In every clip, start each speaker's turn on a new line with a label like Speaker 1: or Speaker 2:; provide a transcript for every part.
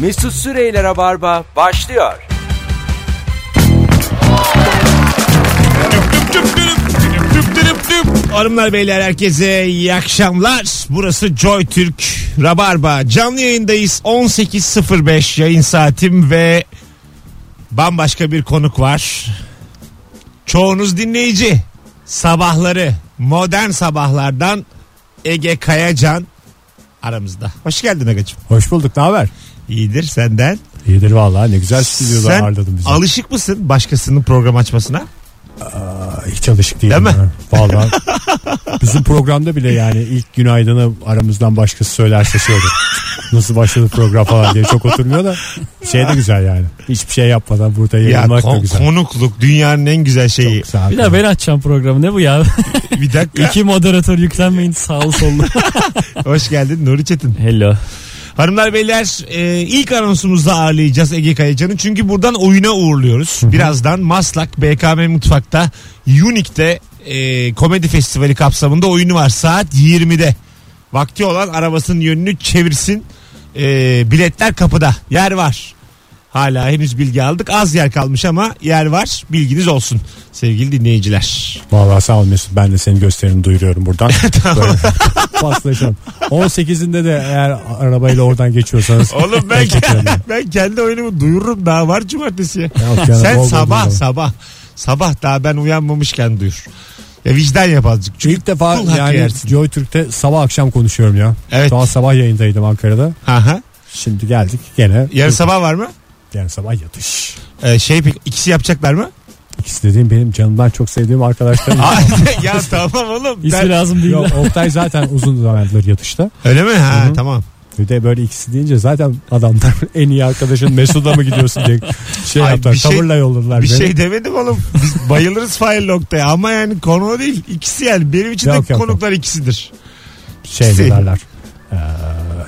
Speaker 1: Mesut Süreyler'e barba başlıyor.
Speaker 2: Hanımlar beyler herkese iyi akşamlar. Burası Joy Türk Rabarba. Canlı yayındayız. 18.05 yayın saatim ve bambaşka bir konuk var. Çoğunuz dinleyici. Sabahları modern sabahlardan Ege Kayacan aramızda. Hoş geldin Agacığım.
Speaker 3: Hoş bulduk. Ne haber?
Speaker 2: İyidir senden.
Speaker 3: İyidir vallahi ne güzel stüdyoda
Speaker 2: Sen
Speaker 3: ağırladın bizi.
Speaker 2: alışık mısın başkasının program açmasına?
Speaker 3: Hiç alışık değilim.
Speaker 2: Değil mi?
Speaker 3: ben. Vallahi. Bizim programda bile yani ilk günaydını aramızdan başkası söylerse şey olur. Nasıl başladı program falan diye çok oturmuyor da şey de güzel yani. Hiçbir şey yapmadan burada yayılmak da
Speaker 2: kon-
Speaker 3: güzel.
Speaker 2: konukluk dünyanın en güzel şeyi.
Speaker 3: Güzel.
Speaker 4: Bir daha ben açacağım programı ne bu ya?
Speaker 2: Bir dakika.
Speaker 4: İki moderatör yüklenmeyin sağlı sollu.
Speaker 2: Hoş geldin Nuri Çetin.
Speaker 4: Hello.
Speaker 2: Hanımlar beyler e, ilk anonsumuzda ağırlayacağız Ege Kayacan'ı. Çünkü buradan oyuna uğurluyoruz. Birazdan Maslak BKM Mutfak'ta Unique'de e, komedi festivali kapsamında oyunu var. Saat 20'de. Vakti olan arabasının yönünü çevirsin. E, biletler kapıda. Yer var. Hala henüz bilgi aldık. Az yer kalmış ama yer var. Bilginiz olsun sevgili dinleyiciler.
Speaker 3: Vallahi sağ ol Mesut. Ben de senin gösterini duyuruyorum buradan. Böyle Paslaşalım. 18'inde de eğer arabayla oradan geçiyorsanız.
Speaker 2: Oğlum ben,
Speaker 3: Tebrik ederim.
Speaker 2: ben kendi oyunumu duyururum daha var cumartesiye.
Speaker 3: Yok canım,
Speaker 2: Sen
Speaker 3: olmadı
Speaker 2: sabah
Speaker 3: zaman.
Speaker 2: sabah sabah daha ben uyanmamışken duyur. Ya vicdan yap azıcık. Çünkü
Speaker 3: İlk defa
Speaker 2: kul hakkı
Speaker 3: yani
Speaker 2: yersin.
Speaker 3: Joy Türk'te sabah akşam konuşuyorum ya.
Speaker 2: Evet.
Speaker 3: Daha sabah yayındaydım Ankara'da.
Speaker 2: Aha.
Speaker 3: Şimdi geldik gene.
Speaker 2: Yarın sabah var mı?
Speaker 3: Yarın sabah yatış.
Speaker 2: Ee, şey pek- ikisi yapacaklar mı?
Speaker 3: İkisi dediğim benim canımdan çok sevdiğim arkadaşlarım.
Speaker 2: Ay, ya tamam oğlum.
Speaker 4: İsmi
Speaker 2: Ben-
Speaker 4: lazım değil.
Speaker 3: Yok Oktay zaten uzun zamandır yatışta.
Speaker 2: Öyle mi? Ha
Speaker 3: Hı hı.
Speaker 2: tamam.
Speaker 3: Bir de böyle ikisi deyince zaten adamlar en iyi arkadaşın Mesut'a mı gidiyorsun diye şey
Speaker 2: Ay,
Speaker 3: yaptılar.
Speaker 2: bir şey-
Speaker 3: tavırla yolladılar
Speaker 2: Bir
Speaker 3: beni.
Speaker 2: şey demedim oğlum. Biz bayılırız fail noktaya ama yani konu o değil. İkisi yani benim için
Speaker 3: Yok,
Speaker 2: de
Speaker 3: yok,
Speaker 2: konuklar ikisidir.
Speaker 3: şey
Speaker 2: şey-
Speaker 3: dediler. Ee,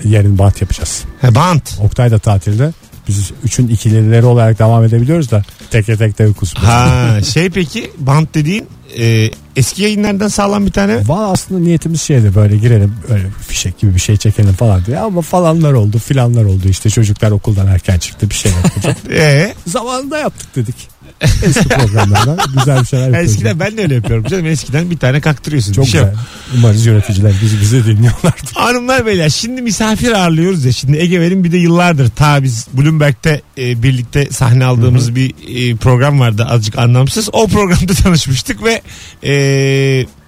Speaker 3: yarın bant yapacağız.
Speaker 2: He, bant.
Speaker 3: Oktay da tatilde. Biz üçün ikilileri olarak devam edebiliyoruz da teke tek de uykusu.
Speaker 2: Ha şey peki bant dediğin e, eski yayınlardan sağlam bir tane
Speaker 3: Valla aslında niyetimiz şeydi böyle girelim öyle fişek gibi bir şey çekelim falan diye ama falanlar oldu filanlar oldu işte çocuklar okuldan erken çıktı bir şey yapacak.
Speaker 2: Ee,
Speaker 3: Zamanında yaptık dedik. Eski programlardan güzel bir şeyler yapıyoruz.
Speaker 2: eskiden ben de öyle yapıyorum canım. Eskiden bir tane kaktırıyorsun.
Speaker 3: Çok
Speaker 2: Bir şey yok.
Speaker 3: güzel. Umarız yöneticiler bizi bize dinliyorlardır.
Speaker 2: Hanımlar beyler şimdi misafir ağırlıyoruz ya. Şimdi Ege Verin bir de yıllardır ta biz Bloomberg'te e, birlikte sahne aldığımız bir e, program vardı azıcık anlamsız. O programda tanışmıştık ve e,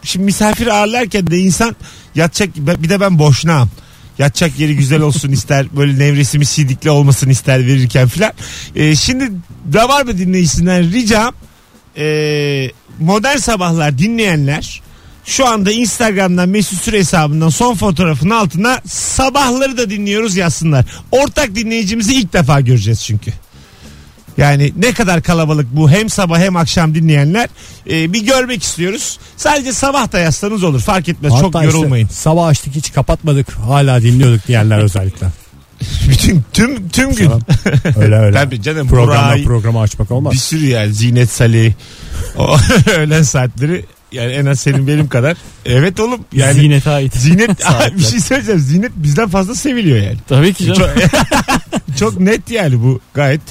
Speaker 2: şimdi misafir ağırlarken de insan yatacak bir de ben boşnağım. Yatacak yeri güzel olsun ister. Böyle nevresimi sidikli olmasın ister verirken filan. E, şimdi da var mı dinleyicisinden ricam e, modern sabahlar dinleyenler şu anda Instagram'dan Mesut Süre hesabından son fotoğrafın altına sabahları da dinliyoruz yazsınlar. Ortak dinleyicimizi ilk defa göreceğiz çünkü. Yani ne kadar kalabalık bu hem sabah hem akşam dinleyenler e, bir görmek istiyoruz. Sadece sabah da yazsanız olur fark etmez
Speaker 3: Hatta
Speaker 2: çok
Speaker 3: işte
Speaker 2: yorulmayın.
Speaker 3: sabah açtık hiç kapatmadık hala dinliyorduk diyenler özellikle.
Speaker 2: Bütün tüm tüm gün
Speaker 3: Tamam. Öyle öyle.
Speaker 2: Tabii canım,
Speaker 3: Programdan
Speaker 2: Buray-
Speaker 3: programa açmak olmaz.
Speaker 2: bir sürü yani Zinet Salih o öğlen saatleri yani en az senin benim kadar. Evet oğlum yani
Speaker 4: Ziynete ait.
Speaker 2: Zinet
Speaker 4: Saatler.
Speaker 2: Aa, bir şey söyleyeceğim. Zinet bizden fazla seviliyor yani.
Speaker 4: Tabii ki canım.
Speaker 2: Çok, çok net yani bu gayet.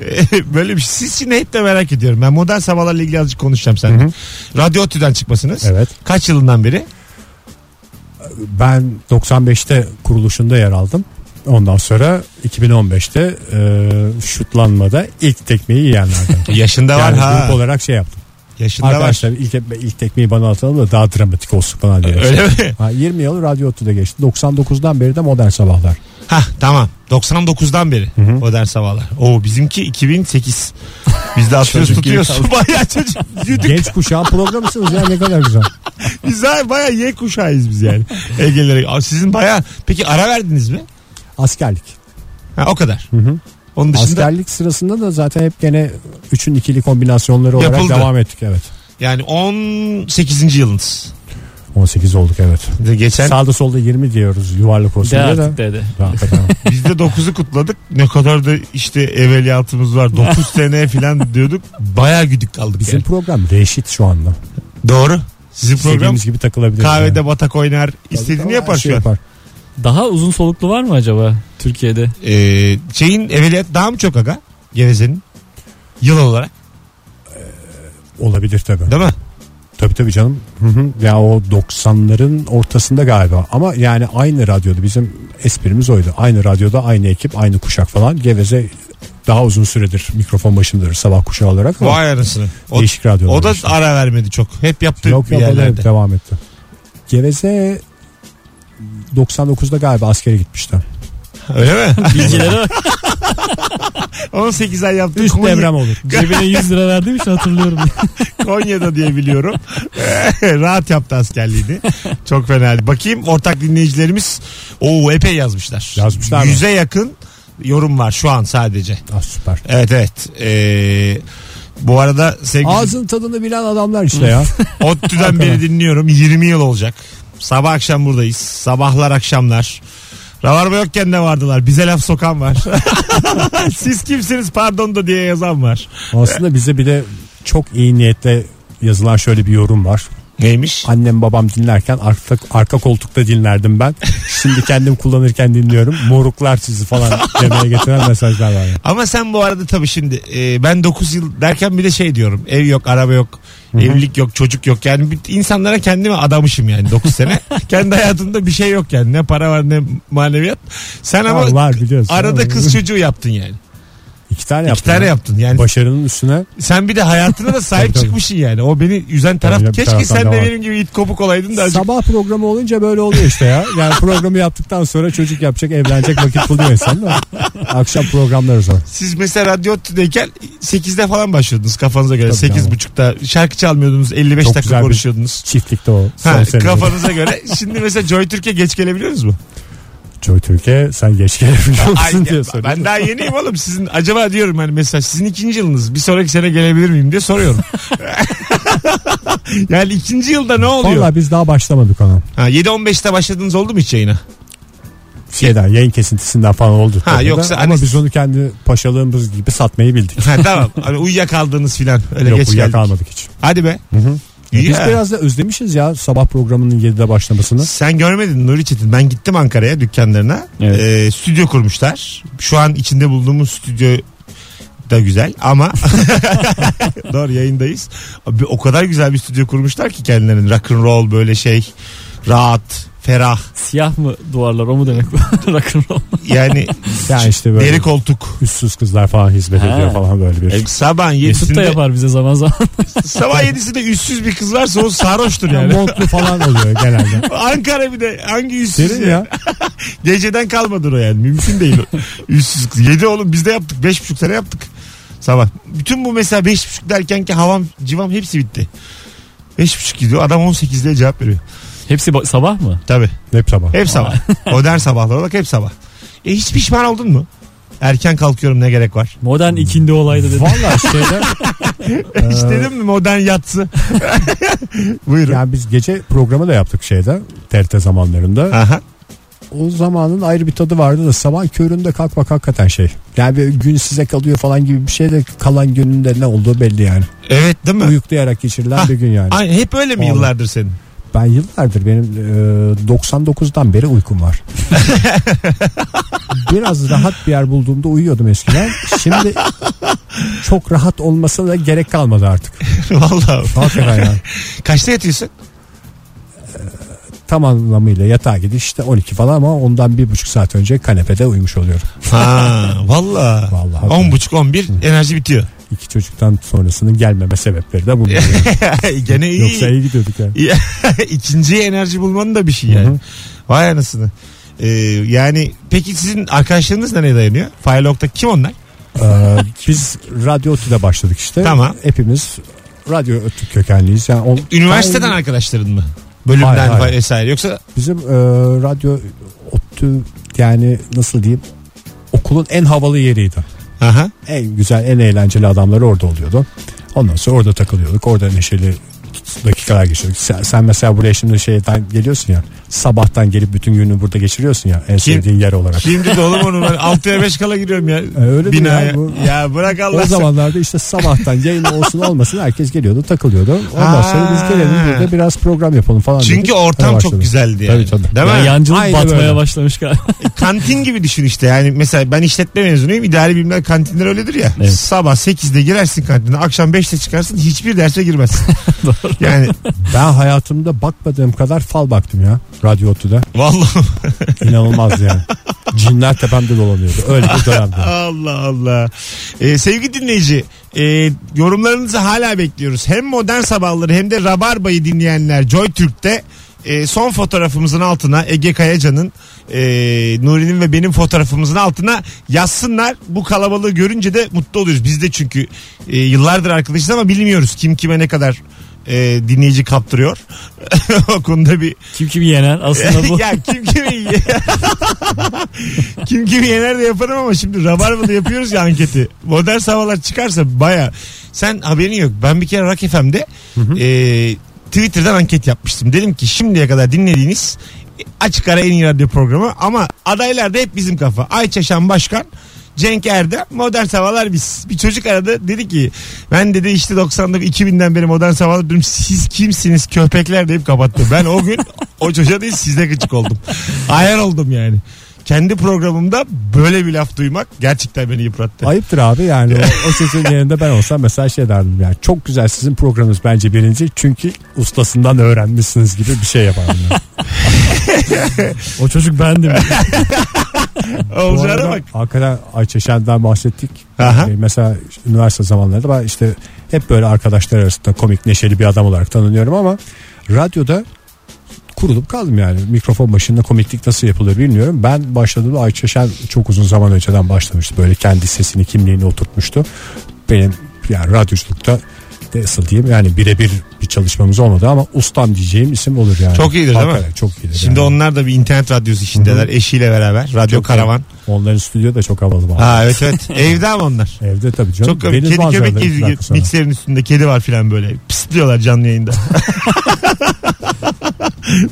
Speaker 2: Ee, Böyle bir şey. Siz şimdi hep de merak ediyorum. Ben modern sabahlarla ilgili azıcık konuşacağım seninle. Radyo Otü'den çıkmasınız.
Speaker 3: Evet.
Speaker 2: Kaç yılından beri?
Speaker 3: Ben 95'te kuruluşunda yer aldım. Ondan sonra 2015'te e, şutlanmada ilk tekmeyi yiyenlerden.
Speaker 2: Yaşında var
Speaker 3: yani
Speaker 2: ha.
Speaker 3: grup olarak şey yaptım.
Speaker 2: Yaşında
Speaker 3: Arkadaşlar ilk, ilk tekmeyi bana atalım da daha dramatik olsun falan diye.
Speaker 2: var. Öyle mi?
Speaker 3: Ha, 20 yıl Radyo Otlu'da geçti. 99'dan beri de Modern Sabahlar.
Speaker 2: Hah tamam. 99'dan beri modern sabahlar. Oo bizimki 2008. Biz de atıyoruz
Speaker 4: Çocuk gibi
Speaker 2: tutuyoruz. Bayağı çocuk. Yuduk.
Speaker 3: Genç kuşağın programısınız ya ne kadar güzel.
Speaker 2: Biz daha bayağı Y kuşağıyız biz yani. Ege'lere. Aa, Sizin bayağı. Peki ara verdiniz mi?
Speaker 3: Askerlik.
Speaker 2: Ha, o kadar.
Speaker 3: hı.
Speaker 2: Onun dışında
Speaker 3: Askerlik sırasında da zaten hep gene 3'ün ikili kombinasyonları olarak
Speaker 2: Yapıldı.
Speaker 3: devam ettik evet.
Speaker 2: yani 18. yılınız.
Speaker 3: 18 olduk evet.
Speaker 2: Geçen
Speaker 3: Sağda solda 20 diyoruz yuvarlak olsun
Speaker 4: De
Speaker 3: diye de.
Speaker 4: artık dede.
Speaker 3: Hakikaten.
Speaker 2: biz de 9'u kutladık. Ne kadar da işte evveliyatımız var. 9 sene falan diyorduk. Bayağı güdük kaldık
Speaker 3: Bizim
Speaker 2: yani.
Speaker 3: program reşit şu anda.
Speaker 2: Doğru. Sizin program
Speaker 3: İstediğimiz gibi takılabiliriz.
Speaker 2: kahvede
Speaker 3: yani.
Speaker 2: batak oynar.
Speaker 3: Tabii,
Speaker 2: istediğini
Speaker 3: tabii,
Speaker 2: yapar
Speaker 3: her şey şeyi
Speaker 2: şu an.
Speaker 4: Daha uzun soluklu var mı acaba Türkiye'de?
Speaker 2: Ee, şeyin evveliyat daha mı çok aga? Gevezenin. Yıl olarak
Speaker 3: Olabilir tabii.
Speaker 2: değil mi?
Speaker 3: Tabii tabii canım. Hı hı. Ya o 90'ların ortasında galiba. Ama yani aynı radyoda bizim esprimiz oydu. Aynı radyoda aynı ekip, aynı kuşak falan. Geveze daha uzun süredir mikrofon başındadır sabah kuşağı olarak. Ama
Speaker 2: Vay anasını. O,
Speaker 3: değişik radyolar.
Speaker 2: o da
Speaker 3: işte.
Speaker 2: ara vermedi çok. Hep yaptı bir
Speaker 3: yok yok o da
Speaker 2: yerlerde.
Speaker 3: hep devam etti. Geveze 99'da galiba askere gitmişti.
Speaker 2: Öyle mi?
Speaker 4: Bilgilere bak.
Speaker 2: 18 ay yaptı.
Speaker 3: Üst
Speaker 2: Konya-
Speaker 3: devrem olur.
Speaker 4: Cebine 100 lira verdiğim için hatırlıyorum.
Speaker 2: Konya'da diye biliyorum. Rahat yaptı askerliğini. Çok fena. Bakayım ortak dinleyicilerimiz o epey yazmışlar.
Speaker 3: Yazmışlar mı?
Speaker 2: Yüze yakın yorum var şu an sadece.
Speaker 3: Ah süper.
Speaker 2: Evet evet. Ee, bu arada sevgili
Speaker 3: Ağzın tadını bilen adamlar işte ya.
Speaker 2: ODTÜ'den beri dinliyorum. 20 yıl olacak. Sabah akşam buradayız. Sabahlar akşamlar. Ravarba yokken de vardılar. Bize laf sokan var. Siz kimsiniz pardon da diye yazan var.
Speaker 3: Aslında bize bir de çok iyi niyetle yazılan şöyle bir yorum var.
Speaker 2: Neymiş?
Speaker 3: Annem babam dinlerken arka, arka koltukta dinlerdim ben. Şimdi kendim kullanırken dinliyorum. Moruklar sizi falan demeye getiren mesajlar var. yani.
Speaker 2: Ama sen bu arada tabii şimdi e, ben 9 yıl derken bir de şey diyorum. Ev yok, araba yok, evlilik yok, çocuk yok. Yani bir- insanlara kendimi adamışım yani 9 sene. Kendi hayatımda bir şey yok yani. Ne para var ne maneviyat. Sen ama
Speaker 3: Var, var biliyorsun.
Speaker 2: arada
Speaker 3: Ama-
Speaker 2: kız çocuğu yaptın yani.
Speaker 3: İki tane
Speaker 2: İki
Speaker 3: yaptın.
Speaker 2: tane
Speaker 3: ya.
Speaker 2: yaptın. Yani
Speaker 3: Başarının üstüne
Speaker 2: sen bir de hayatına da sahip
Speaker 3: Tabii, tabii.
Speaker 2: çıkmışsın yani. O beni üzen taraf.
Speaker 3: Tabii, bir
Speaker 2: Keşke
Speaker 3: taraftan
Speaker 2: sen de
Speaker 3: da var.
Speaker 2: benim gibi it kopuk olaydın da azıcık.
Speaker 3: sabah programı olunca böyle oluyor işte ya. Yani programı yaptıktan sonra çocuk yapacak, evlenecek vakit buluyor insan da. Akşam programları zor.
Speaker 2: Siz mesela Radyo Tü'deyken 8'de falan başlıyordunuz kafanıza göre.
Speaker 3: Tabii
Speaker 2: 8.30'da şarkı çalmıyordunuz. 55
Speaker 3: Çok
Speaker 2: dakika
Speaker 3: güzel bir-
Speaker 2: konuşuyordunuz.
Speaker 3: Çiftlikte o. Son
Speaker 2: Ha,
Speaker 3: sene.
Speaker 2: kafanıza göre. Şimdi mesela Joy Türk'e geç gelebiliyoruz mu?
Speaker 3: Joy Türkiye sen geç gelebiliyor
Speaker 2: Ay,
Speaker 3: musun
Speaker 2: ya,
Speaker 3: diye soruyor.
Speaker 2: ben daha yeniyim oğlum. Sizin acaba diyorum hani mesela sizin ikinci yılınız bir sonraki sene gelebilir miyim diye soruyorum. yani ikinci yılda ne oluyor?
Speaker 3: Valla biz daha başlamadık ona.
Speaker 2: Ha, 7-15'te başladınız oldu mu hiç yayına?
Speaker 3: Şeyden yayın kesintisinden falan oldu.
Speaker 2: Ha,
Speaker 3: tabii de.
Speaker 2: yoksa
Speaker 3: Ama
Speaker 2: hani-
Speaker 3: biz onu kendi paşalığımız gibi satmayı bildik.
Speaker 2: Ha, tamam. Hani uyuyakaldınız filan. Öyle
Speaker 3: Yok
Speaker 2: geç geldik.
Speaker 3: uyuyakalmadık hiç.
Speaker 2: Hadi be. İyi
Speaker 3: Biz
Speaker 2: ya.
Speaker 3: biraz da özlemişiz ya sabah programının 7'de başlamasını.
Speaker 2: Sen görmedin Nuri Çetin. Ben gittim Ankara'ya dükkanlarına.
Speaker 4: Evet.
Speaker 2: Ee, stüdyo kurmuşlar. Şu an içinde bulduğumuz stüdyo da güzel ama doğru yayındayız. Abi, o kadar güzel bir stüdyo kurmuşlar ki kendilerinin rock and roll böyle şey rahat, ferah.
Speaker 4: Siyah mı duvarlar o mu demek bu? Rock'n'roll.
Speaker 2: Yani
Speaker 3: Yani işte böyle
Speaker 2: deri koltuk.
Speaker 3: üstsüz kızlar falan hizmet
Speaker 4: Ha.
Speaker 3: ediyor falan böyle bir.
Speaker 2: Sabah
Speaker 4: Mesut da
Speaker 2: 7'sinde
Speaker 4: yapar bize zaman zaman.
Speaker 2: sabah 7'sinde üstsüz bir kız varsa o sarhoştur yani.
Speaker 3: Montlu falan oluyor genelde.
Speaker 2: Ankara bir de hangi üstsüz
Speaker 3: Derin
Speaker 2: ya?
Speaker 3: ya.
Speaker 2: Geceden kalmadır o yani. Mümkün değil. o. Üstsüz. kız. Yedi oğlum biz de yaptık. Beş buçuk sene yaptık. Sabah. Bütün bu mesela beş buçuk derken ki havam civam hepsi bitti. Beş buçuk gidiyor. Adam 18'de cevap veriyor.
Speaker 4: Hepsi ba- sabah mı?
Speaker 2: Tabii.
Speaker 3: Hep sabah.
Speaker 2: Hep sabah. Modern sabahlar olarak hep sabah. E hiç pişman oldun mu? Erken kalkıyorum ne gerek var?
Speaker 4: Modern ikindi olaydı dedi.
Speaker 3: Valla şeyde
Speaker 2: Hiç dedim mi modern yatsı? Buyurun.
Speaker 3: yani biz gece programı da yaptık şeyde TRT zamanlarında.
Speaker 2: Aha.
Speaker 3: O zamanın ayrı bir tadı vardı da sabah köründe kalkmak hakikaten şey. Yani bir gün size kalıyor falan gibi bir şey de kalan günün de ne olduğu belli yani.
Speaker 2: Evet değil mi?
Speaker 3: Uyuklayarak geçirilen
Speaker 2: Ha.
Speaker 3: bir gün yani.
Speaker 2: Ay, hep öyle mi
Speaker 3: Oğlum.
Speaker 2: yıllardır senin?
Speaker 3: Ben yıllardır benim e, 99'dan beri uykum var. Biraz rahat bir yer bulduğumda uyuyordum eskiden. Şimdi çok rahat olmasına da gerek kalmadı artık.
Speaker 2: Vallahi.
Speaker 3: Hakikaten yani.
Speaker 2: Kaçta yatıyorsun?
Speaker 3: Tam anlamıyla yatağa gidiş işte 12 falan ama ondan bir buçuk saat önce kanepede uyumuş oluyorum.
Speaker 2: Ha, valla.
Speaker 3: Vallahi.
Speaker 2: On buçuk on bir enerji bitiyor.
Speaker 3: İki çocuktan sonrasının gelmeme sebepleri de bunlar. yani.
Speaker 2: Gene iyi.
Speaker 3: Yoksa iyi gidiyorduk yani.
Speaker 2: İkinciye enerji bulmanın da bir şey yani.
Speaker 3: Hı hı.
Speaker 2: Vay anasını. Ee, yani peki sizin arkadaşlarınız nereye dayanıyor? Firelog'da kim onlar?
Speaker 3: Ee, biz Radyo Otü'de başladık işte.
Speaker 2: Tamam.
Speaker 3: Hepimiz Radyo Otü kökenliyiz. Yani on-
Speaker 2: Üniversiteden
Speaker 3: Ben-
Speaker 2: arkadaşların mı? Bölümden
Speaker 3: Hayır, hayır.
Speaker 2: vesaire. Yoksa
Speaker 3: Bizim e, radyo ottu yani nasıl diyeyim okulun en havalı yeriydi.
Speaker 2: aha.
Speaker 3: En güzel en eğlenceli adamları orada oluyordu. Ondan sonra orada takılıyorduk. Orada neşeli dakikalar geçirdik. Sen, sen mesela buraya şimdi şeyden geliyorsun ya. sabahtan gelip bütün gününü burada geçiriyorsun ya en
Speaker 2: Kim-
Speaker 3: sevdiğin yer olarak.
Speaker 2: Şimdi de oğlum onu ben 6'ya 5 kala giriyorum ya.
Speaker 3: E, öyle mi
Speaker 2: binaya.
Speaker 3: ya? Bu-
Speaker 2: Ya bırak Allah
Speaker 3: O zamanlarda işte sabahtan yayın olsun olmasın herkes geliyordu takılıyordu. Ondan sonra biz gelelim burada biraz program yapalım falan.
Speaker 2: Çünkü
Speaker 3: dedik.
Speaker 2: ortam
Speaker 3: Öyle
Speaker 2: çok
Speaker 3: başladı.
Speaker 2: güzeldi yani.
Speaker 3: Tabii tabii.
Speaker 2: Değil mi?
Speaker 4: Ya yancılık
Speaker 3: Aynı
Speaker 4: batmaya
Speaker 3: böyle.
Speaker 4: başlamış galiba.
Speaker 2: Kantin gibi düşün işte. Yani mesela ben işletme mezunuyum. İdari bilimler kantinler öyledir ya.
Speaker 4: Evet.
Speaker 2: Sabah 8'de girersin kantine. Akşam 5'te çıkarsın. Hiçbir derse girmezsin. Yani
Speaker 3: Ben hayatımda bakmadığım kadar fal baktım ya Radyo Otu'da.
Speaker 2: vallahi
Speaker 3: İnanılmaz yani. Cinler tepemde dolanıyordu. Öyle bir dönemde.
Speaker 2: Allah Allah. Ee, sevgili dinleyici e, yorumlarınızı hala bekliyoruz. Hem modern sabahları hem de Rabarba'yı dinleyenler Joy Türk'te e, son fotoğrafımızın altına Ege Kayacan'ın e, Nuri'nin ve benim fotoğrafımızın altına yazsınlar. Bu kalabalığı görünce de mutlu oluyoruz. Biz de çünkü e, yıllardır arkadaşız ama bilmiyoruz kim kime ne kadar e, dinleyici kaptırıyor. o konuda bir
Speaker 4: Kim kimi yener aslında bu.
Speaker 2: ya kim kimi ye- kim kimi yener de yaparım ama şimdi Rabarba'da yapıyoruz ya anketi. Modern sabahlar çıkarsa baya. Sen haberin yok. Ben bir kere Rock FM'de e, Twitter'dan anket yapmıştım. Dedim ki şimdiye kadar dinlediğiniz açık ara en iyi radyo programı ama adaylar da hep bizim kafa. Ayça Şan Başkan Cenk Erdem Modern Sabahlar biz. Bir çocuk aradı dedi ki ben dedi işte 90'da 2000'den beri Modern Sabahlar dedim siz kimsiniz köpekler deyip kapattı. Ben o gün o çocuğa değil sizde gıcık oldum. Ayar oldum yani. Kendi programımda böyle bir laf duymak gerçekten beni yıprattı.
Speaker 3: Ayıptır abi yani o, o çocuğun yerinde ben olsam mesela şey derdim yani çok güzel sizin programınız bence birinci çünkü ustasından öğrenmişsiniz gibi bir şey yapardım. ben.
Speaker 4: O çocuk bendim.
Speaker 3: Bu
Speaker 2: Olacağına
Speaker 3: arada
Speaker 2: bak.
Speaker 3: Hakikaten Ayça Şen'den bahsettik.
Speaker 2: Aha.
Speaker 3: Ee, mesela üniversite zamanlarında ben işte hep böyle arkadaşlar arasında komik neşeli bir adam olarak tanınıyorum ama radyoda kurulup kaldım yani. Mikrofon başında komiklik nasıl yapılır bilmiyorum. Ben başladığımda Ayça Şen çok uzun zaman önceden başlamıştı. Böyle kendi sesini kimliğini oturtmuştu. Benim yani radyoculukta nasıl diyeyim yani birebir bir çalışmamız olmadı ama ustam diyeceğim isim olur yani.
Speaker 2: Çok iyidir değil mi?
Speaker 3: Hakikaten Çok iyidir.
Speaker 2: Şimdi
Speaker 3: yani.
Speaker 2: onlar da bir internet radyosu işindeler eşiyle beraber. Radyo
Speaker 3: Çok
Speaker 2: karavan.
Speaker 3: onların stüdyo da çok havalı. var.
Speaker 2: Ha evet evet. Evde ama onlar.
Speaker 3: Evde tabii canım.
Speaker 2: Çok komik.
Speaker 3: Deniz
Speaker 2: Kedi
Speaker 3: manzaraları
Speaker 2: köpek
Speaker 3: iki dakika
Speaker 2: geziyor.
Speaker 3: sonra.
Speaker 2: Mikserin üstünde kedi var filan böyle. Pisliyorlar canlı yayında.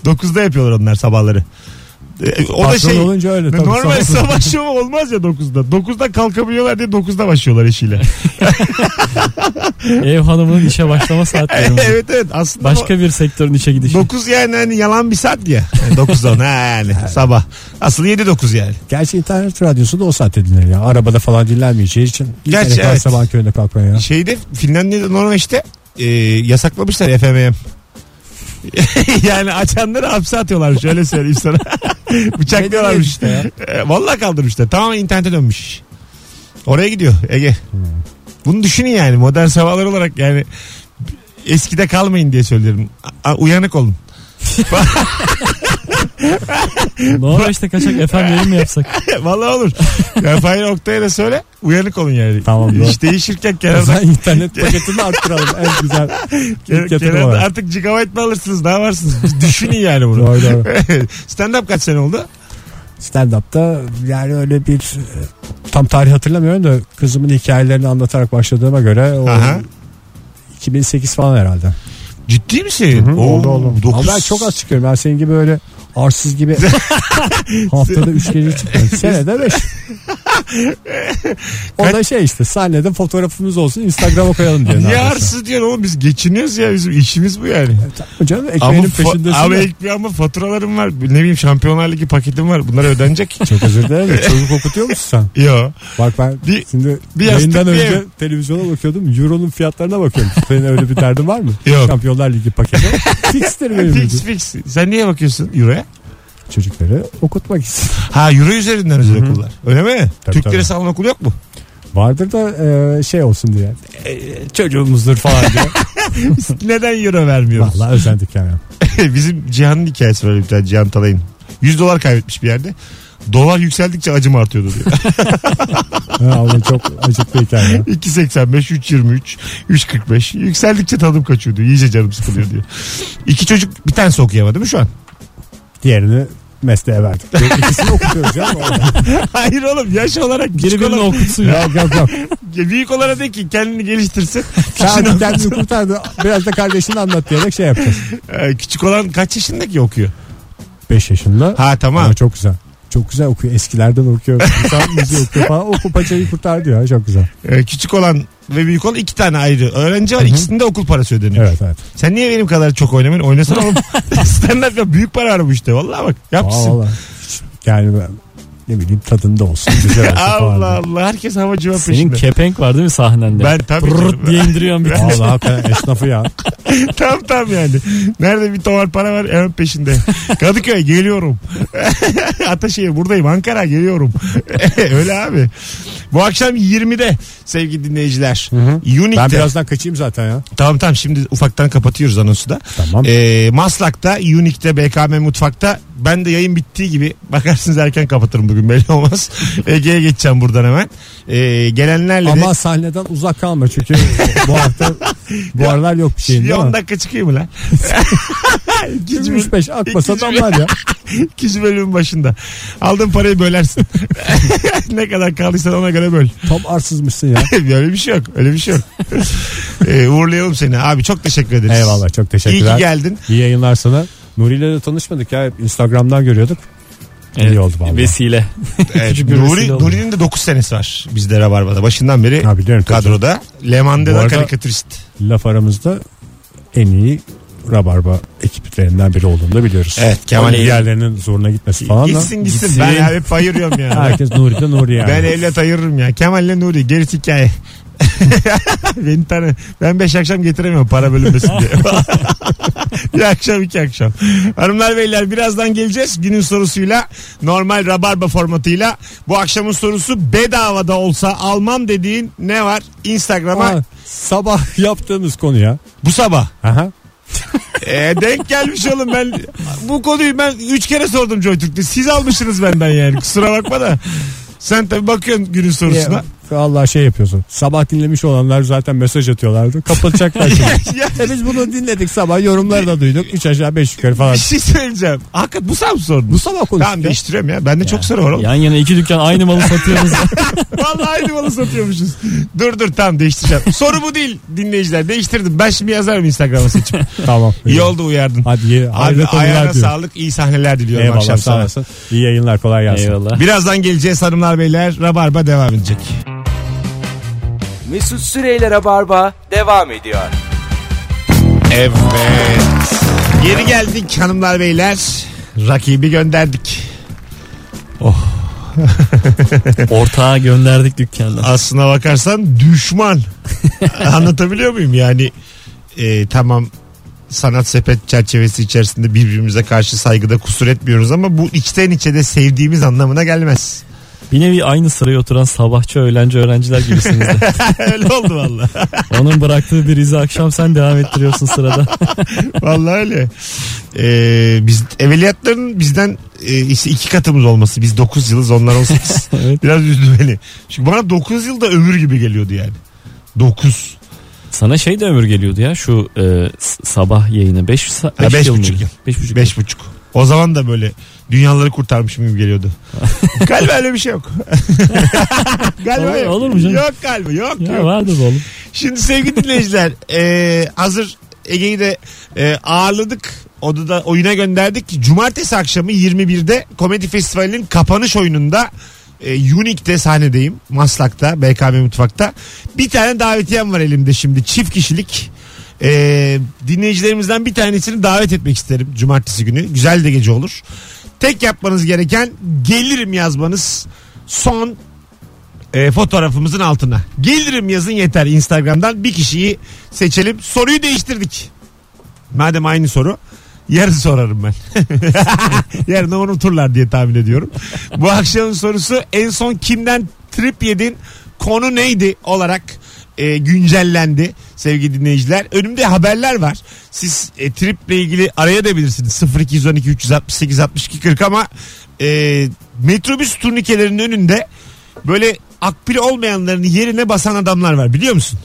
Speaker 2: 9'da yapıyorlar onlar sabahları. Ee, O da
Speaker 3: Patron
Speaker 2: şey
Speaker 3: olunca öyle tabii.
Speaker 2: normal
Speaker 3: Sabah-
Speaker 2: sabah şovu olmaz ya 9'da. 9'da kalkamıyorlar diye 9'da başlıyorlar işiyle.
Speaker 4: Ev hanımının işe başlama saatleri. bunlar.
Speaker 2: E, evet evet aslında
Speaker 4: Başka bir sektörün işe gidişi.
Speaker 2: 9 yani hani yalan bir saat ya. Yani 9'dan ha yani sabah. Aslında 7-9 yani.
Speaker 3: Gerçi internet radyosu da o saatte dinler ya. Arabada falan dinlenmeyeceği için.
Speaker 2: Gerçi
Speaker 3: Gerçi
Speaker 2: evet.
Speaker 3: Sabah köyünde kalkmaya ya.
Speaker 2: Şeyde Finlandiya'da Norveç'te e, yasaklamışlar FMM. yani açanları hapse atıyorlarmış öyle söyleyeyim sana. Bıçaklıyorlarmış.
Speaker 3: Medeniyet işte ya.
Speaker 2: E, vallahi kaldırmışlar. Tamamen internete dönmüş. Oraya gidiyor Ege. Bunu düşünün yani modern sabahlar olarak yani eskide kalmayın diye söylüyorum. A- uyanık olun.
Speaker 4: Norveç'te kaçak efendim yayın mı yapsak?
Speaker 2: vallahi olur. Ya Fahir Oktay'a da söyle uyanık olun yani.
Speaker 3: Tamam, doğru.
Speaker 2: İş değişirken
Speaker 3: O
Speaker 2: kenarda,
Speaker 3: zaman internet paketini arttıralım. En güzel.
Speaker 2: kenar-
Speaker 3: yatırım
Speaker 2: kenarda
Speaker 3: olarak.
Speaker 2: artık gigabyte mi alırsınız ne varsınız? Düşünün yani bunu.
Speaker 3: Doğru doğru.
Speaker 2: Stand up kaç sene oldu?
Speaker 3: Stand up'ta yani öyle bir e, tam tarih hatırlamıyorum da kızımın hikayelerini anlatarak başladığıma göre o
Speaker 2: Aha.
Speaker 3: 2008 falan herhalde.
Speaker 2: Ciddi misin?
Speaker 3: Hı,
Speaker 2: Oo,
Speaker 3: oldu oldu.
Speaker 2: dokuz-
Speaker 3: Ama ben çok az çıkıyorum. Ben senin gibi böyle arsız gibi haftada 3 gece çıkıyorum. Senede 5. o da şey işte sahnede fotoğrafımız olsun Instagram'a koyalım diyor.
Speaker 2: Niye arsız diyorsun oğlum biz geçiniyoruz ya bizim işimiz bu yani.
Speaker 3: Hocam
Speaker 2: Ama,
Speaker 3: ekmeğinin
Speaker 2: fa-
Speaker 3: peşindesin.
Speaker 2: ama,
Speaker 3: ya.
Speaker 2: ekmeği ama faturalarım var. Ne bileyim şampiyonlar ligi paketim var. Bunlar ödenecek.
Speaker 3: Çok özür dilerim. de Çocuk okutuyor musun sen?
Speaker 2: Yo.
Speaker 3: Bak ben
Speaker 2: Bir-
Speaker 3: şimdi
Speaker 2: bir yastık
Speaker 3: yayından
Speaker 2: bir
Speaker 3: önce
Speaker 2: ev.
Speaker 3: televizyona bakıyordum. Euro'nun fiyatlarına bakıyorum. Senin öyle bir derdin var mı?
Speaker 2: Yok.
Speaker 3: Şampiyonlar Ligi paketi. Fixtir benim.
Speaker 2: fix
Speaker 3: dedim.
Speaker 2: fix. Sen niye bakıyorsun Euro'ya?
Speaker 3: Çocukları okutmak için.
Speaker 2: Ha Euro üzerinden özel okullar. Öyle mi?
Speaker 3: Tabii,
Speaker 2: Türk
Speaker 3: tabii.
Speaker 2: lirası alan okul yok mu?
Speaker 3: Vardır da e, şey olsun diye. E, çocuğumuzdur falan diye.
Speaker 2: Neden Euro vermiyoruz?
Speaker 3: Vallahi özendik yani.
Speaker 2: Bizim Cihan'ın hikayesi var bir tane Cihan Talay'ın. 100 dolar kaybetmiş bir yerde. Dolar yükseldikçe acım artıyordu diyor.
Speaker 3: Ha, Allah çok acıklı hikaye. ya.
Speaker 2: 2.85, 3.23, 3.45. Yükseldikçe tadım kaçıyor diyor. İyice canım sıkılıyor diyor. İki çocuk bir tanesi okuyamadı mı şu an?
Speaker 3: Diğerini mesleğe verdik. İkisini okutuyoruz ya.
Speaker 2: Hayır oğlum yaş olarak
Speaker 4: Biri
Speaker 2: küçük
Speaker 4: birini
Speaker 2: olan,
Speaker 4: okutsun ya.
Speaker 3: yok yok yok.
Speaker 2: büyük olana de ki kendini geliştirsin.
Speaker 3: Sen kendini kurtardı. Biraz da kardeşini anlat diyerek şey yapacağız.
Speaker 2: Ee, küçük olan kaç yaşında ki okuyor?
Speaker 3: 45 yaşında.
Speaker 2: Ha tamam.
Speaker 3: Ama çok güzel. Çok güzel okuyor. Eskilerden okuyor. Güzel müziği okuyor falan. O paçayı kurtardı ya. Çok güzel.
Speaker 2: Ee, küçük olan ve büyük olan iki tane ayrı öğrenci var.
Speaker 3: Hı hı.
Speaker 2: İkisinde okul parası ödeniyor.
Speaker 3: Evet evet.
Speaker 2: Sen niye benim kadar çok oynamıyorsun? Oynasana oğlum. Stand up ya. Büyük para var bu işte. Vallahi bak. Yapsın.
Speaker 3: Vallahi hiç- Yani ben ne bileyim tadında olsun. Güzel olsun falan.
Speaker 2: Allah Allah. Herkes hava cıva
Speaker 4: Senin
Speaker 2: peşinde.
Speaker 4: kepenk var değil mi sahnende?
Speaker 2: Ben tabii
Speaker 4: Pırrrt
Speaker 2: canım.
Speaker 4: diye indiriyorum bir tane.
Speaker 3: Vallahi hakikaten esnafı ya.
Speaker 2: tam tam yani. Nerede bir tovar para var hemen peşinde. Kadıköy geliyorum. Ataşehir buradayım. Ankara geliyorum. Öyle abi. Bu akşam 20'de sevgili dinleyiciler. Unique'de.
Speaker 3: Ben birazdan kaçayım zaten ya.
Speaker 2: Tamam tamam şimdi ufaktan kapatıyoruz anonsu da.
Speaker 3: Tamam.
Speaker 2: Ee, Maslak'ta, Unique'de, BKM Mutfak'ta ben de yayın bittiği gibi bakarsınız erken kapatırım bugün belli olmaz. Ege'ye geçeceğim buradan hemen. Ee, gelenlerle de...
Speaker 3: Ama sahneden uzak kalma çünkü bu hafta bu aralar yok bir şeyin
Speaker 2: Şimdi
Speaker 3: değil
Speaker 2: 10
Speaker 3: mi?
Speaker 2: dakika çıkayım mı lan? İkinci bölüm-
Speaker 3: 3 5 akmasa
Speaker 2: İkinci-
Speaker 3: adamlar ya.
Speaker 2: İkinci bölümün başında. Aldığın parayı bölersin. ne kadar kaldıysa ona göre böl.
Speaker 3: Tam arsızmışsın ya.
Speaker 2: Öyle bir şey yok. Öyle bir şey yok. ee, uğurlayalım seni. Abi çok teşekkür ederiz.
Speaker 3: Eyvallah çok
Speaker 2: İyi ki
Speaker 3: teşekkürler.
Speaker 2: geldin.
Speaker 3: İyi yayınlar sana. Nuri ile de tanışmadık ya. Hep Instagram'dan görüyorduk. İyi oldu vallahi.
Speaker 4: Vesile.
Speaker 2: Evet,
Speaker 4: Küçük bir
Speaker 2: Nuri,
Speaker 4: vesile oldu.
Speaker 2: Nuri'nin de 9 senesi var bizde Rabarba'da. Başından beri
Speaker 3: Ha biliyorum. Kadro.
Speaker 2: kadroda. Leman'da
Speaker 3: Bu
Speaker 2: da
Speaker 3: arada-
Speaker 2: karikatürist.
Speaker 3: Laf aramızda en iyi Rabarba ekiplerinden biri olduğunu da biliyoruz.
Speaker 2: Evet, Kemal
Speaker 3: Ama
Speaker 2: Bey.
Speaker 3: diğerlerinin zoruna gitmesi falan da.
Speaker 2: Gitsin gitsin.
Speaker 4: Gitsin.
Speaker 2: Ben ya hep ayırıyorum ya.
Speaker 3: Herkes Nuri'de Nuri yani.
Speaker 2: ben evlat ayırırım ya. Kemal'le Nuri gerisi hikaye. Beni tanı. Ben beş akşam getiremiyorum para bölünmesin diye. bir akşam iki akşam. Hanımlar beyler birazdan geleceğiz. Günün sorusuyla normal rabarba formatıyla. Bu akşamın sorusu bedavada olsa almam dediğin ne var? Instagram'a
Speaker 3: Aa, sabah yaptığımız konu ya.
Speaker 2: bu sabah.
Speaker 3: Aha.
Speaker 2: E, denk gelmiş oğlum ben bu konuyu ben 3 kere sordum Joytürk'te. Siz almışsınız benden yani kusura bakma da. Sen tabii bakıyorsun günün sorusuna.
Speaker 3: Allah şey yapıyorsun. Sabah dinlemiş olanlar zaten mesaj atıyorlardı. Kapatacaklar şimdi.
Speaker 2: ya,
Speaker 3: E biz bunu dinledik sabah yorumları da duyduk. 3 aşağı 5 yukarı falan.
Speaker 2: bir şey söyleyeceğim. Hakikaten bu sen mi sordun?
Speaker 3: Bu sabah konuştuk.
Speaker 2: Tamam
Speaker 3: ya.
Speaker 2: değiştiriyorum ya. Bende çok soru var oğlum.
Speaker 4: Yan yana iki dükkan aynı malı satıyoruz.
Speaker 2: Vallahi aynı malı satıyormuşuz. Dur dur tamam değiştireceğim. soru bu değil dinleyiciler. Değiştirdim. Ben şimdi yazarım Instagram'a seçip.
Speaker 3: Tamam.
Speaker 2: İyi oldu uyardın.
Speaker 3: Hadi ye,
Speaker 2: Abi
Speaker 3: hayırlı
Speaker 2: ayağına
Speaker 3: konular diyor.
Speaker 2: sağlık. iyi sahneler diliyorum
Speaker 3: Eyvallah
Speaker 2: akşam
Speaker 3: sağ
Speaker 2: sana.
Speaker 3: olasın. İyi yayınlar kolay gelsin.
Speaker 4: Eyvallah.
Speaker 2: Birazdan geleceğiz hanımlar beyler. Rabarba devam edecek.
Speaker 1: Mesut Süreyler'e barba devam ediyor.
Speaker 2: Evet. Geri geldik hanımlar beyler. Rakibi gönderdik.
Speaker 4: Ortağa gönderdik dükkandan.
Speaker 2: Aslına bakarsan düşman. Anlatabiliyor muyum? Yani e, tamam sanat sepet çerçevesi içerisinde birbirimize karşı saygıda kusur etmiyoruz ama bu içten içe de sevdiğimiz anlamına gelmez.
Speaker 4: Bir nevi aynı sıraya oturan sabahçı öğlenci öğrenciler gibisiniz de.
Speaker 2: öyle oldu valla.
Speaker 4: Onun bıraktığı bir izi akşam sen devam ettiriyorsun sırada.
Speaker 2: Valla öyle. E, biz evveliyatların bizden e, işte iki katımız olması. Biz 9 yılız onlar 18.
Speaker 4: evet.
Speaker 2: Biraz üzdü beni. Çünkü bana 9 yılda ömür gibi geliyordu yani. 9.
Speaker 4: Sana şey de ömür geliyordu ya şu e, s- sabah yayını 5
Speaker 2: Ha, beş
Speaker 4: yıl
Speaker 2: buçuk
Speaker 4: mıydı?
Speaker 2: yıl.
Speaker 4: Beş buçuk
Speaker 2: Beş buçuk. O zaman da böyle dünyaları kurtarmışım gibi geliyordu. galiba öyle bir şey yok. galiba
Speaker 4: Olur-
Speaker 2: yok.
Speaker 4: olur mu canım?
Speaker 2: Yok galiba yok
Speaker 4: yıl. Ya
Speaker 2: yok.
Speaker 4: vardır be oğlum.
Speaker 2: Şimdi sevgili dinleyiciler e, hazır Ege'yi de e, ağırladık. Onu da oyuna gönderdik. Cumartesi akşamı 21'de Komedi Festivali'nin kapanış oyununda e, Unique'de sahnedeyim. Maslak'ta, BKM Mutfak'ta. Bir tane davetiyem var elimde şimdi. Çift kişilik. E, dinleyicilerimizden bir tanesini davet etmek isterim cumartesi günü. Güzel de gece olur. Tek yapmanız gereken gelirim yazmanız. Son e, fotoğrafımızın altına. Gelirim yazın yeter Instagram'dan bir kişiyi seçelim. Soruyu değiştirdik. Madem aynı soru yarın sorarım ben. yarın da unuturlar diye tahmin ediyorum. Bu akşamın sorusu en son kimden trip yedin konu neydi olarak e, güncellendi sevgili dinleyiciler. Önümde haberler var. Siz e, triple ilgili arayabilirsiniz 0212 368 62 40 ama e, metrobüs turnikelerinin önünde böyle akbil olmayanların yerine basan adamlar var biliyor musun?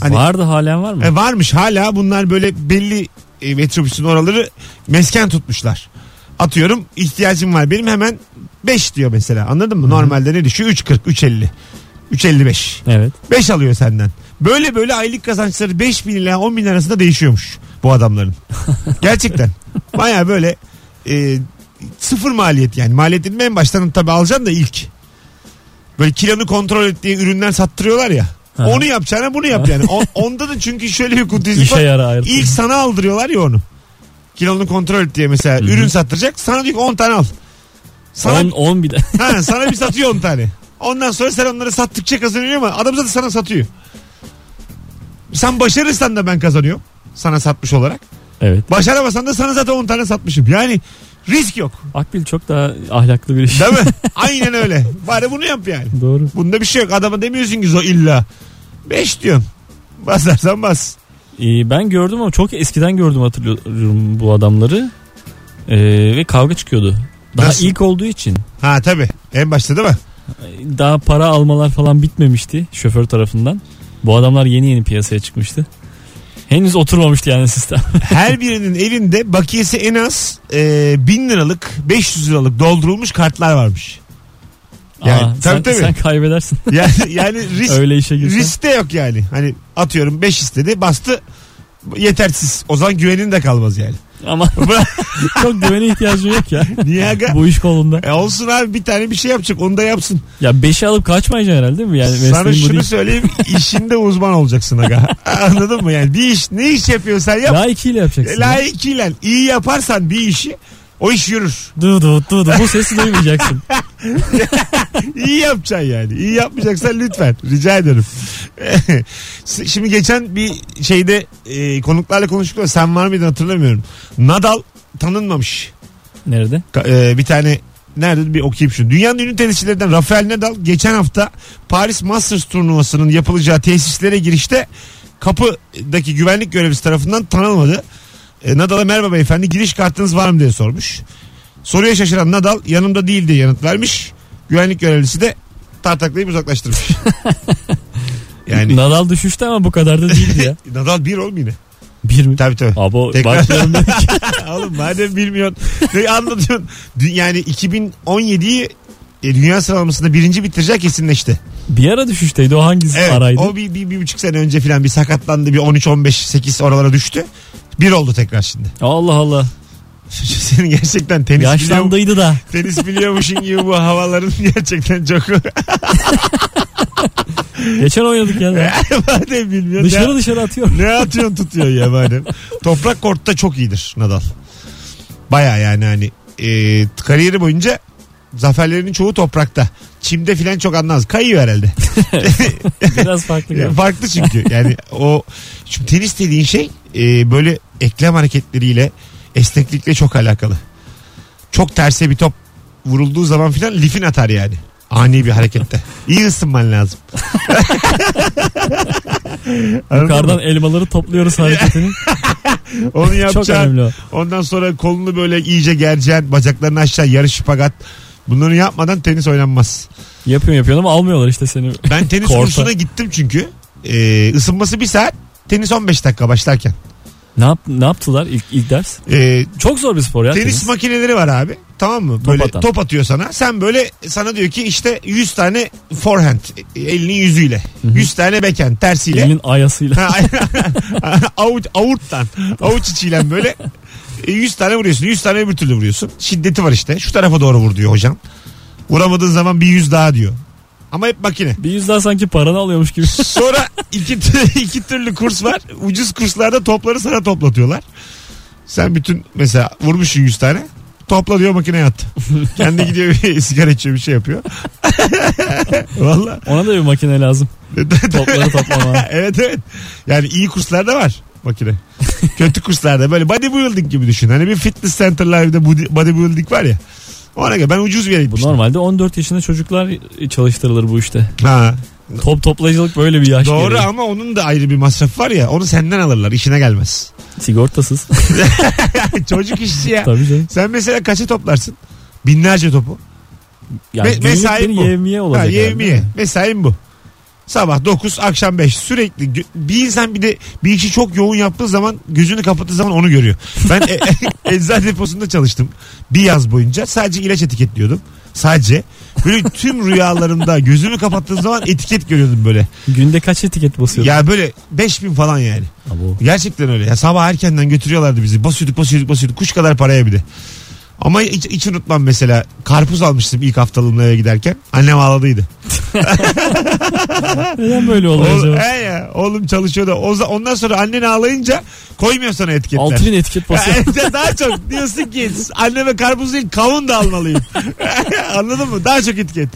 Speaker 2: Hani-
Speaker 4: Vardı halen var mı?
Speaker 2: E, varmış hala bunlar böyle belli e, metrobüsün oraları mesken tutmuşlar. Atıyorum ihtiyacım var benim hemen 5 diyor mesela anladın mı? Normalde ne düşüyor? 3.40, 3.50, 3.55.
Speaker 4: Evet.
Speaker 2: 5 alıyor senden. Böyle böyle aylık kazançları 5 bin ila 10 bin arasında değişiyormuş bu adamların. Gerçekten. Baya böyle e, sıfır maliyet yani. Maliyetini en baştan tabii alacaksın da ilk. Böyle kilonu kontrol ettiği ürünler sattırıyorlar ya.
Speaker 4: Aha.
Speaker 2: Onu yapacağına bunu yap yani. O- onda da çünkü şöyle bir kutuzluk
Speaker 4: İşe
Speaker 2: var.
Speaker 4: yara ayrı.
Speaker 2: İlk sana aldırıyorlar ya onu. Kilonu kontrol et diye mesela ürün sattıracak. Sana diyor ki 10 tane al. Sana,
Speaker 4: 10 10 bir de.
Speaker 2: ha, sana bir satıyor 10 tane. Ondan sonra sen onları sattıkça kazanıyor ama adam zaten sana satıyor. Sen başarırsan da ben kazanıyorum. Sana satmış olarak.
Speaker 4: evet.
Speaker 2: Başaramasan da sana zaten 10 tane satmışım. Yani risk yok.
Speaker 4: Akbil çok daha ahlaklı bir iş.
Speaker 2: Değil mi? Aynen öyle. Bari bunu yap yani.
Speaker 4: Doğru.
Speaker 2: Bunda bir şey yok. Adama demiyorsun ki o illa. 5 diyorsun. Basarsan bas.
Speaker 4: Ee, ben gördüm ama çok eskiden gördüm hatırlıyorum bu adamları. Ee, ve kavga çıkıyordu. Daha
Speaker 2: Nasıl?
Speaker 4: ilk olduğu için
Speaker 2: Ha tabii. En başta değil mi?
Speaker 4: daha para almalar falan bitmemişti şoför tarafından. Bu adamlar yeni yeni piyasaya çıkmıştı. Henüz oturmamıştı yani sistem.
Speaker 2: Her birinin elinde bakiyesi en az e, 1000 liralık 500 liralık doldurulmuş kartlar varmış. Yani
Speaker 4: Aa,
Speaker 2: tabii
Speaker 4: sen,
Speaker 2: tabii.
Speaker 4: sen kaybedersin.
Speaker 2: Yani, yani risk,
Speaker 4: Öyle işe girsen.
Speaker 2: risk de yok yani. Hani atıyorum 5 istedi bastı yetersiz. O zaman güvenin de kalmaz yani.
Speaker 4: Ama çok güvene ihtiyacı yok ya.
Speaker 2: Niye aga?
Speaker 4: bu iş kolunda.
Speaker 2: E olsun abi bir tane bir şey yapacak onu da yapsın.
Speaker 4: Ya 5'i alıp kaçmayacaksın herhalde değil mi? Yani
Speaker 2: Sana
Speaker 4: mesleğin bu
Speaker 2: şunu
Speaker 4: değil.
Speaker 2: söyleyeyim işinde uzman olacaksın aga. Anladın mı yani bir iş ne iş yapıyorsan yap. E,
Speaker 4: Layıkıyla yapacaksın.
Speaker 2: Layıkıyla iyi yaparsan bir işi o iş yürür.
Speaker 4: Du du du du. Bu sesi duymayacaksın.
Speaker 2: İyi yapacaksın yani. İyi yapmayacaksan lütfen. Rica ederim. Şimdi geçen bir şeyde e, konuklarla konuştuk da sen var mıydın hatırlamıyorum. Nadal tanınmamış.
Speaker 4: Nerede?
Speaker 2: Ka- e, bir tane nerede bir okuyayım şu. Dünyanın ünlü tenisçilerinden Rafael Nadal geçen hafta Paris Masters turnuvasının yapılacağı tesislere girişte kapıdaki güvenlik görevlisi tarafından tanınmadı. E, Nadal'a merhaba beyefendi giriş kartınız var mı diye sormuş. Soruya şaşıran Nadal yanımda değil diye yanıt vermiş. Güvenlik görevlisi de tartaklayıp uzaklaştırmış. yani
Speaker 4: Nadal düşüştü ama bu kadar da değildi ya.
Speaker 2: Nadal bir ol mu yine?
Speaker 4: Bir mi?
Speaker 2: Tabii tabii.
Speaker 4: Abo
Speaker 2: Tekrar-
Speaker 4: bakmıyorum dedi ki.
Speaker 2: Oğlum madem bilmiyorsun ne anlatıyorsun? Dü- Yani 2017'yi e, dünya sıralamasında birinci bitirecek kesinleşti.
Speaker 4: Bir ara düşüşteydi o hangisi
Speaker 2: Evet,
Speaker 4: araydı?
Speaker 2: o bir, bir, bir buçuk sene önce falan bir sakatlandı. Bir 13, 15, 8 oralara düştü. Bir oldu tekrar şimdi.
Speaker 4: Allah Allah.
Speaker 2: Senin gerçekten tenis biliyor,
Speaker 4: Yaşlandıydı da.
Speaker 2: tenis biliyormuşsun gibi bu havaların gerçekten çok...
Speaker 4: Geçen oynadık ya.
Speaker 2: madem bilmiyorsun.
Speaker 4: dışarı dışarı atıyor.
Speaker 2: Ne atıyorsun tutuyor ya madem. Toprak kortta çok iyidir Nadal. Baya yani hani e, kariyeri boyunca zaferlerinin çoğu toprakta. Çimde filan çok anlamaz. Kayıyor herhalde.
Speaker 4: Biraz farklı.
Speaker 2: Ya,
Speaker 4: galiba.
Speaker 2: farklı çünkü. Yani o şimdi tenis dediğin şey e, böyle eklem hareketleriyle esneklikle çok alakalı. Çok terse bir top vurulduğu zaman filan lifin atar yani. Ani bir harekette. İyi ısınman lazım. Anladın mı?
Speaker 4: Yukarıdan elmaları topluyoruz hareketini.
Speaker 2: Onu
Speaker 4: Çok
Speaker 2: yapacaksın.
Speaker 4: önemli o.
Speaker 2: Ondan sonra kolunu böyle iyice gereceksin. Bacaklarını aşağı yarı şıpagat. Bunları yapmadan tenis oynanmaz.
Speaker 4: Yapıyorsun yapıyorsun ama almıyorlar işte seni.
Speaker 2: Ben tenis
Speaker 4: Korta.
Speaker 2: kursuna gittim çünkü. Ee, ısınması bir saat. Tenis 15 dakika başlarken.
Speaker 4: Ne, yap, ne yaptılar ilk, ilk ders?
Speaker 2: Ee,
Speaker 4: Çok zor bir spor ya.
Speaker 2: tenis,
Speaker 4: Tenis,
Speaker 2: makineleri var abi. Tamam mı? Böyle
Speaker 4: atan.
Speaker 2: top atıyor sana. Sen böyle sana diyor ki işte 100 tane forehand e, elinin yüzüyle. 100 tane backhand tersiyle.
Speaker 4: Elin ayasıyla.
Speaker 2: Ha, avuç, avuçtan. Avuç içiyle böyle. e, 100 tane vuruyorsun. 100 tane öbür türlü vuruyorsun. Şiddeti var işte. Şu tarafa doğru vur diyor hocam. Vuramadığın zaman bir yüz daha diyor. Ama hep makine.
Speaker 4: Bir yüzden sanki paranı alıyormuş gibi.
Speaker 2: Sonra iki, tür- iki türlü kurs var. Ucuz kurslarda topları sana toplatıyorlar. Sen bütün mesela vurmuşsun 100 tane. Topla diyor makineye at. Kendi gidiyor bir sigara içiyor bir şey yapıyor. Valla.
Speaker 4: Ona da bir makine lazım. Topları toplama.
Speaker 2: evet evet. Yani iyi kurslar da var makine. Kötü kurslarda böyle bodybuilding gibi düşün. Hani bir fitness center'larda body- bodybuilding var ya. Ona göre ben ucuz bir yere
Speaker 4: Bu
Speaker 2: gitmiştim.
Speaker 4: normalde 14 yaşında çocuklar çalıştırılır bu işte.
Speaker 2: Ha,
Speaker 4: Top toplayıcılık böyle bir şey yaş.
Speaker 2: doğru
Speaker 4: gereği.
Speaker 2: ama onun da ayrı bir masrafı var ya. Onu senden alırlar işine gelmez.
Speaker 4: Sigortasız.
Speaker 2: Çocuk işçi ya.
Speaker 4: Tabii canım.
Speaker 2: Sen mesela kaça toplarsın? Binlerce topu.
Speaker 4: Yani
Speaker 2: Me-
Speaker 4: günlük
Speaker 2: mesai
Speaker 4: bir
Speaker 2: bu.
Speaker 4: yevmiye olacak.
Speaker 2: Ha,
Speaker 4: herhalde.
Speaker 2: yevmiye. Mesain bu. Sabah 9 akşam 5 sürekli gö- bir insan bir de bir işi çok yoğun yaptığı zaman gözünü kapattığı zaman onu görüyor. Ben e- e- eczane deposunda çalıştım bir yaz boyunca sadece ilaç etiketliyordum sadece böyle tüm rüyalarımda gözümü kapattığım zaman etiket görüyordum böyle.
Speaker 4: Günde kaç etiket basıyorsun?
Speaker 2: Ya böyle 5000 falan yani.
Speaker 4: Abo.
Speaker 2: Gerçekten öyle. Ya sabah erkenden götürüyorlardı bizi. Basıyorduk basıyorduk basıyorduk. Kuş kadar paraya bir de. Ama hiç, hiç unutmam mesela karpuz almıştım ilk haftalığımla eve giderken. Annem ağladıydı.
Speaker 4: Neden böyle oluyor
Speaker 2: Oğlum,
Speaker 4: acaba?
Speaker 2: he ya, oğlum çalışıyor da. O, za- ondan sonra annen ağlayınca koymuyor sana etiketler.
Speaker 4: 6000 etiket basıyor.
Speaker 2: Yani daha çok diyorsun ki anneme karpuz değil kavun da almalıyım. Anladın mı? Daha çok etiket.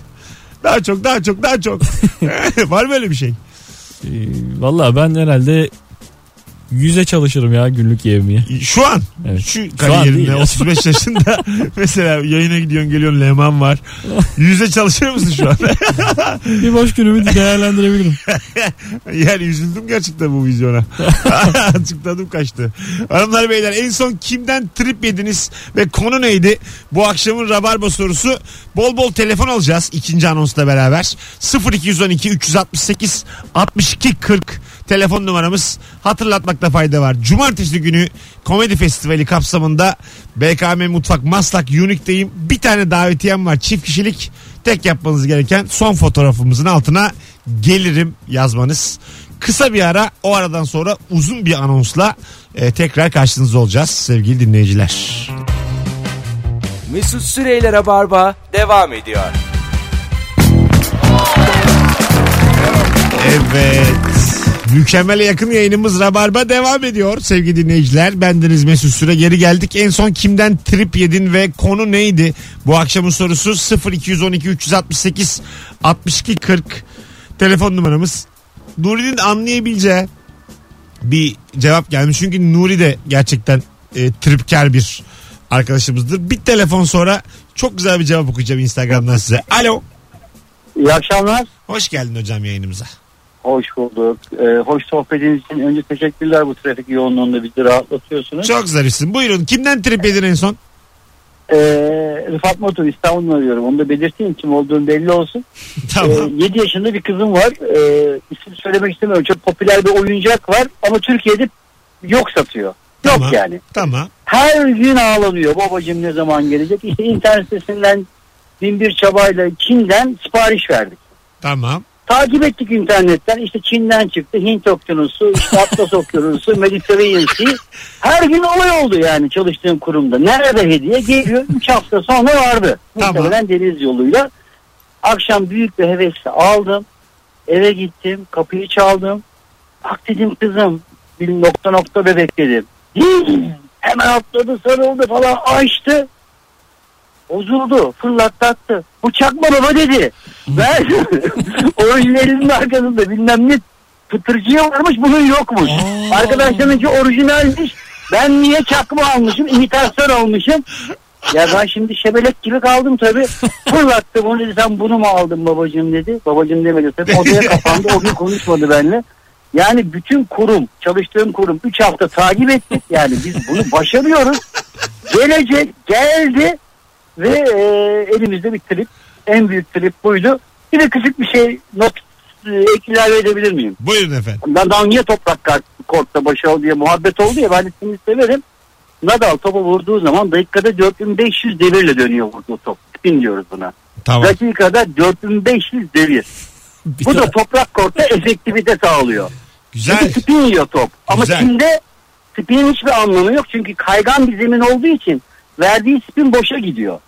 Speaker 2: Daha çok daha çok daha çok. Var mı öyle bir şey?
Speaker 4: Ee, Valla ben herhalde 100'e çalışırım ya günlük yevmiye.
Speaker 2: Şu an
Speaker 4: Evet.
Speaker 2: şu
Speaker 4: değil
Speaker 2: kariyerinde
Speaker 4: ya.
Speaker 2: 35 yaşında mesela yayına gidiyorsun geliyorsun leman var. Yüze çalışır mısın şu an?
Speaker 4: Bir boş günümü değerlendirebilirim.
Speaker 2: yani üzüldüm gerçekten bu vizyona. Açıkladım kaçtı. Hanımlar beyler en son kimden trip yediniz ve konu neydi? Bu akşamın Rabarba sorusu. Bol bol telefon alacağız ikinci anonsla beraber. 0212 368 62 40 telefon numaramız. Hatırlatmakta fayda var. Cumartesi günü Komedi Festivali kapsamında BKM Mutfak Maslak Unique'deyim. Bir tane davetiyem var çift kişilik. Tek yapmanız gereken son fotoğrafımızın altına gelirim yazmanız. Kısa bir ara o aradan sonra uzun bir anonsla e, tekrar karşınızda olacağız sevgili dinleyiciler.
Speaker 1: Mesut Süreyler'e barba devam ediyor.
Speaker 2: Evet. Mükemmele yakın yayınımız Rabarba devam ediyor sevgili dinleyiciler. Bendeniz Mesut Süre geri geldik. En son kimden trip yedin ve konu neydi? Bu akşamın sorusu 0212 368 62 40 telefon numaramız. Nuri'nin anlayabileceği bir cevap gelmiş. Çünkü Nuri de gerçekten e, tripker bir arkadaşımızdır. Bir telefon sonra çok güzel bir cevap okuyacağım Instagram'dan size. Alo.
Speaker 5: İyi akşamlar.
Speaker 2: Hoş geldin hocam yayınımıza.
Speaker 5: Hoş bulduk. Ee, hoş sohbetiniz için önce teşekkürler bu trafik yoğunluğunda bizi rahatlatıyorsunuz.
Speaker 2: Çok zarifsin. Buyurun kimden trip yedin en son?
Speaker 5: Ee, Rıfat Motor İstanbul'dan arıyorum. Onu da belirteyim kim olduğum belli olsun. Ee,
Speaker 2: Tamam.
Speaker 5: 7 yaşında bir kızım var. Ee, isim söylemek istemiyorum. Çok popüler bir oyuncak var ama Türkiye'de yok satıyor. Yok
Speaker 2: Tamam.
Speaker 5: yani.
Speaker 2: Tamam.
Speaker 5: Her gün ağlanıyor. Babacım ne zaman gelecek? İşte internet sitesinden bin bir çabayla Çin'den sipariş verdik.
Speaker 2: Tamam.
Speaker 5: takip ettik internetten işte Çin'den çıktı Hint okyanusu işte Atlas okyanusu Mediterranean Sea her gün olay oldu yani çalıştığım kurumda nerede hediye geliyor 3 hafta sonra vardı
Speaker 2: Tamam.
Speaker 5: muhtemelen deniz yoluyla akşam büyük bir hevesle aldım eve gittim kapıyı çaldım bak dedim kızım bir nokta nokta bebek dedim "Hii!" hemen atladı sarıldı falan açtı Bozuldu. Fırlattattı. Bu çakma baba dedi. Ben orijinalinin arkasında bilmem ne pıtırcıya varmış bunun yokmuş. Arkadaşlarınki orijinalmiş. Ben niye çakma almışım? imitasyon almışım. Ya ben şimdi şebelek gibi kaldım tabii. Fırlattı bunu dedi sen bunu mu aldın babacığım dedi. Babacığım demedi tabii odaya kapandı. O gün konuşmadı benimle. Yani bütün kurum, çalıştığım kurum 3 hafta takip ettik. Yani biz bunu başarıyoruz. Gelecek geldi ve e, elimizde bir trip. En büyük trip buydu. Bir de küçük bir şey not e, ek ilave edebilir miyim?
Speaker 2: Buyurun efendim.
Speaker 5: Nadal niye toprak kart- kortta başarılı diye muhabbet oldu ya ben ismini severim. Nadal topu vurduğu zaman dakikada 4500 devirle dönüyor vurduğu top. Spin diyoruz buna.
Speaker 2: Tamam.
Speaker 5: Dakikada 4500 devir.
Speaker 4: Bir
Speaker 5: Bu
Speaker 4: tane-
Speaker 5: da toprak kortta efektivite sağlıyor.
Speaker 2: Güzel.
Speaker 5: Çünkü spin yiyor top. Ama
Speaker 2: Güzel.
Speaker 5: Çin'de spin hiçbir anlamı yok. Çünkü kaygan bir zemin olduğu için verdiği spin boşa gidiyor.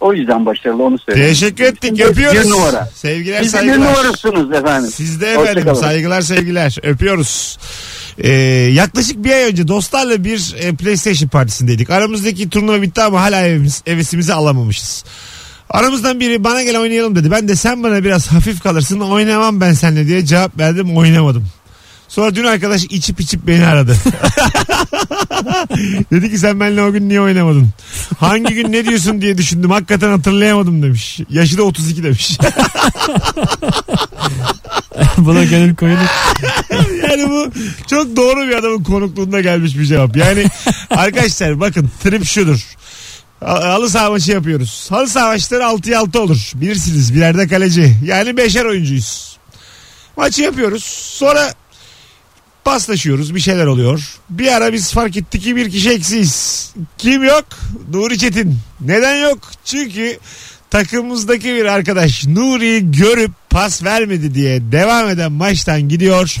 Speaker 5: O yüzden başarılı onu söyleyeyim.
Speaker 2: Teşekkür ettik.
Speaker 5: Şimdi Bir
Speaker 2: Öpüyoruz.
Speaker 5: numara.
Speaker 2: Sevgiler
Speaker 5: Siz de bir
Speaker 2: saygılar.
Speaker 5: numarasınız efendim.
Speaker 2: Siz de
Speaker 5: Hoşça
Speaker 2: efendim
Speaker 5: kalın.
Speaker 2: saygılar sevgiler öpüyoruz. Ee, yaklaşık bir ay önce dostlarla bir e, PlayStation partisindeydik. Aramızdaki turnuva bitti ama hala evimiz, hevesimizi alamamışız. Aramızdan biri bana gel oynayalım dedi. Ben de sen bana biraz hafif kalırsın oynamam ben seninle diye cevap verdim oynamadım. Sonra dün arkadaş içip içip beni aradı. dedi ki sen benimle o gün niye oynamadın? Hangi gün ne diyorsun diye düşündüm. Hakikaten hatırlayamadım demiş. Yaşı da 32 demiş.
Speaker 4: Buna gönül koyulur.
Speaker 2: Yani bu çok doğru bir adamın konukluğunda gelmiş bir cevap. Yani arkadaşlar bakın trip şudur. A- Halı saha maçı yapıyoruz. Halı saha maçları 6'ya 6 olur. Bilirsiniz birerde kaleci. Yani beşer oyuncuyuz. Maçı yapıyoruz. Sonra paslaşıyoruz. Bir şeyler oluyor. Bir ara biz fark ettik ki bir kişi eksiyiz. Kim yok? Nuri Çetin. Neden yok? Çünkü takımımızdaki bir arkadaş Nuri görüp pas vermedi diye devam eden maçtan gidiyor.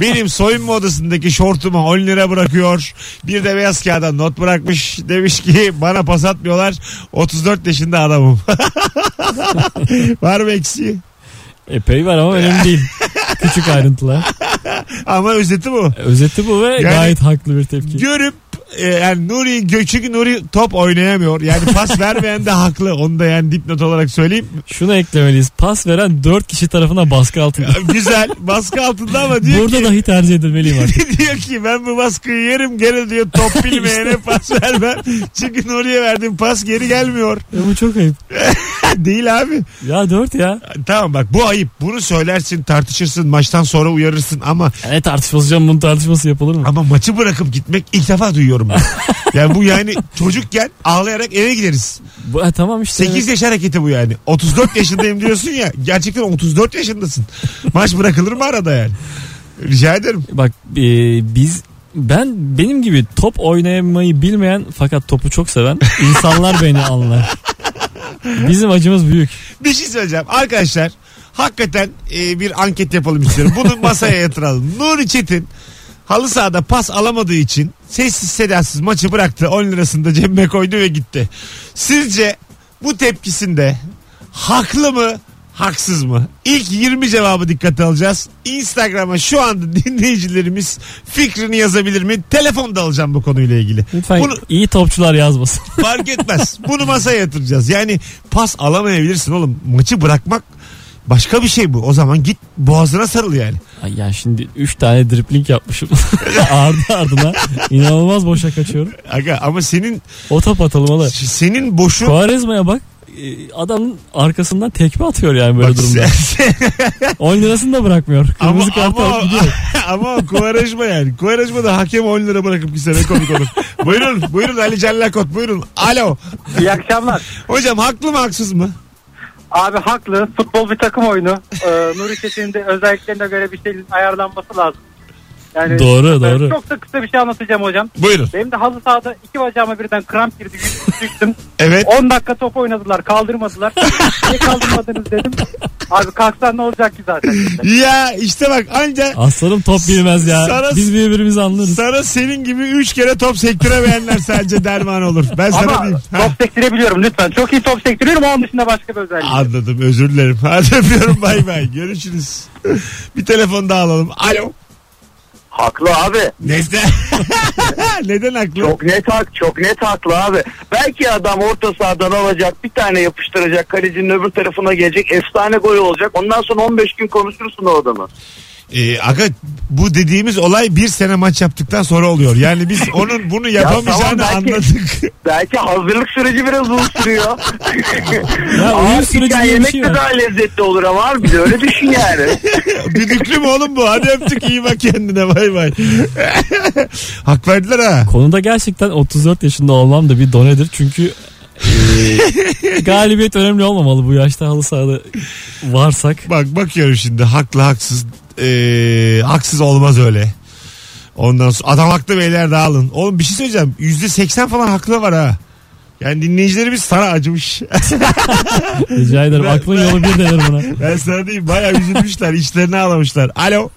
Speaker 2: Benim soyunma odasındaki şortuma 10 lira bırakıyor. Bir de beyaz kağıda not bırakmış. Demiş ki bana pas atmıyorlar. 34 yaşında adamım. Var mı eksiği?
Speaker 4: Epey var ama önemli değil. Küçük ayrıntılar.
Speaker 2: Ama özeti bu.
Speaker 4: Özeti bu ve gayet haklı bir tepki.
Speaker 2: Görüp e, yani Nuri gö- çünkü Nuri top oynayamıyor. Yani pas vermeyen de haklı. Onu da yani dipnot olarak söyleyeyim.
Speaker 4: Şunu eklemeliyiz. Pas veren 4 kişi tarafından baskı altında.
Speaker 2: Güzel baskı altında ama diyor
Speaker 4: Burada
Speaker 2: ki
Speaker 4: dahi tercih edilmeliyim artık.
Speaker 2: diyor ki ben bu baskıyı yerim gene diyor top bilmeyene pas vermem. Çünkü Nuri'ye verdiğim pas geri gelmiyor. E,
Speaker 4: Ya bu çok ayıp.
Speaker 2: Değil abi.
Speaker 4: Ya 4 ya.
Speaker 2: Tamam bak bu ayıp. Bunu söylersin tartışırsın maçtan sonra uyarırsın ama
Speaker 4: Ne tartışması canım bunun tartışması yapılır mı?
Speaker 2: ama maçı bırakıp gitmek ilk defa duyuyorum ben. yani bu yani çocukken ağlayarak eve gideriz.
Speaker 4: Bu, ha, tamam işte.
Speaker 2: 8 yaş hareketi bu yani. 34 yaşındayım diyorsun ya. Gerçekten 34 yaşındasın. Maç bırakılır mı arada yani? Rica ederim.
Speaker 4: Bak e, biz ben benim gibi top oynamayı bilmeyen fakat topu çok seven insanlar beni anlar. Bizim acımız büyük.
Speaker 2: Bir şey söyleyeceğim. Arkadaşlar hakikaten e, bir anket yapalım istiyorum. Bunu masaya yatıralım. Nuri Çetin halı sahada pas alamadığı için sessiz sedasız maçı bıraktı. 10 lirasını da cebime koydu ve gitti. Sizce bu tepkisinde haklı mı haksız mı? İlk 20 cevabı dikkate alacağız. Instagram'a şu anda dinleyicilerimiz fikrini yazabilir mi? Telefon da alacağım bu konuyla ilgili.
Speaker 4: Lütfen
Speaker 2: Bunu-
Speaker 4: iyi topçular yazmasın.
Speaker 2: Fark etmez. Bunu masaya yatıracağız. Yani pas alamayabilirsin oğlum. Maçı bırakmak başka bir şey bu. O zaman git boğazına sarıl yani.
Speaker 4: Ay ya şimdi 3 tane dripling yapmışım. Ardı ardına inanılmaz boşa kaçıyorum.
Speaker 2: Aga ama senin
Speaker 4: O top atılmalı.
Speaker 2: senin boşu
Speaker 4: Kuarezma'ya bak e, adamın arkasından tekme atıyor yani böyle
Speaker 2: Bak
Speaker 4: durumda.
Speaker 2: sen-
Speaker 4: 10 lirasını da bırakmıyor.
Speaker 2: ama,
Speaker 4: Kırmızı kart
Speaker 2: ama,
Speaker 4: alıp gidiyor.
Speaker 2: ama o Kuvarajma yani. Kuvarajma da hakem 10 lira bırakıp gitse ne komik olur. buyurun buyurun Ali Cellakot buyurun. Alo.
Speaker 5: İyi akşamlar.
Speaker 2: Hocam haklı mı haksız mı?
Speaker 5: Abi haklı. Futbol bir takım oyunu. Ee, Nuri Çetin'in de özelliklerine göre bir şeyin ayarlanması lazım. Yani
Speaker 4: Doğru,
Speaker 5: Ee,
Speaker 4: doğru.
Speaker 5: Çok da kısa bir şey anlatacağım hocam.
Speaker 2: Buyurun.
Speaker 5: Benim de halı sahada iki bacağıma birden kramp girdi. yüz- Düştüm.
Speaker 2: Evet.
Speaker 5: 10 dakika top oynadılar. Kaldırmadılar. Niye kaldırmadınız dedim. Abi kalksan ne olacak ki zaten. işte.
Speaker 2: Ya işte bak anca
Speaker 4: Aslanım top bilmez ya.
Speaker 2: Sana-
Speaker 4: Biz birbirimizi anlarız.
Speaker 2: sana senin gibi 3 kere top sektiremeyenler sadece derman olur. Ben sana
Speaker 5: Ama
Speaker 2: diyeyim. Ha.
Speaker 5: top sektirebiliyorum lütfen. Çok iyi top sektiriyorum. Onun dışında başka bir özelliği.
Speaker 2: Anladım özür dilerim. Hadi öpüyorum bay bay. Görüşürüz. Bir telefon daha alalım. Alo.
Speaker 6: Haklı abi.
Speaker 2: Neden? Neden haklı?
Speaker 6: Çok net hak, çok net haklı abi. Belki adam orta sahadan alacak, bir tane yapıştıracak, kalecinin öbür tarafına gelecek, efsane gol olacak. Ondan sonra 15 gün konuşursun o adamı.
Speaker 2: Ee, aga bu dediğimiz olay bir sene maç yaptıktan sonra oluyor. Yani biz onun bunu yapamayacağını
Speaker 6: tamam, belki-
Speaker 2: anladık.
Speaker 6: Belki hazırlık süreci biraz uzun sürüyor.
Speaker 4: Ya oyun
Speaker 6: Ağır
Speaker 4: süreci
Speaker 6: diken
Speaker 4: diye bir
Speaker 6: yemek
Speaker 4: şey
Speaker 6: de
Speaker 4: var.
Speaker 6: daha lezzetli olur ama abi bir de öyle düşün yani.
Speaker 2: Düdüklü mü oğlum bu? Hadi öptük iyi bak kendine bay bay. Hak verdiler ha.
Speaker 4: Konuda gerçekten 34 yaşında olmam da bir donedir. Çünkü e, galibiyet önemli olmamalı bu yaşta halı sahada varsak.
Speaker 2: Bak bakıyorum şimdi haklı haksız. Ee, haksız olmaz öyle. Ondan sonra adam haklı beyler dağılın. Oğlum bir şey söyleyeceğim. Yüzde seksen falan haklı var ha. Yani dinleyicilerimiz sana acımış.
Speaker 4: Rica ederim.
Speaker 2: Ben-
Speaker 4: Aklın yolu bir denir buna.
Speaker 2: ben sana diyeyim bayağı üzülmüşler. içlerini ağlamışlar. Alo.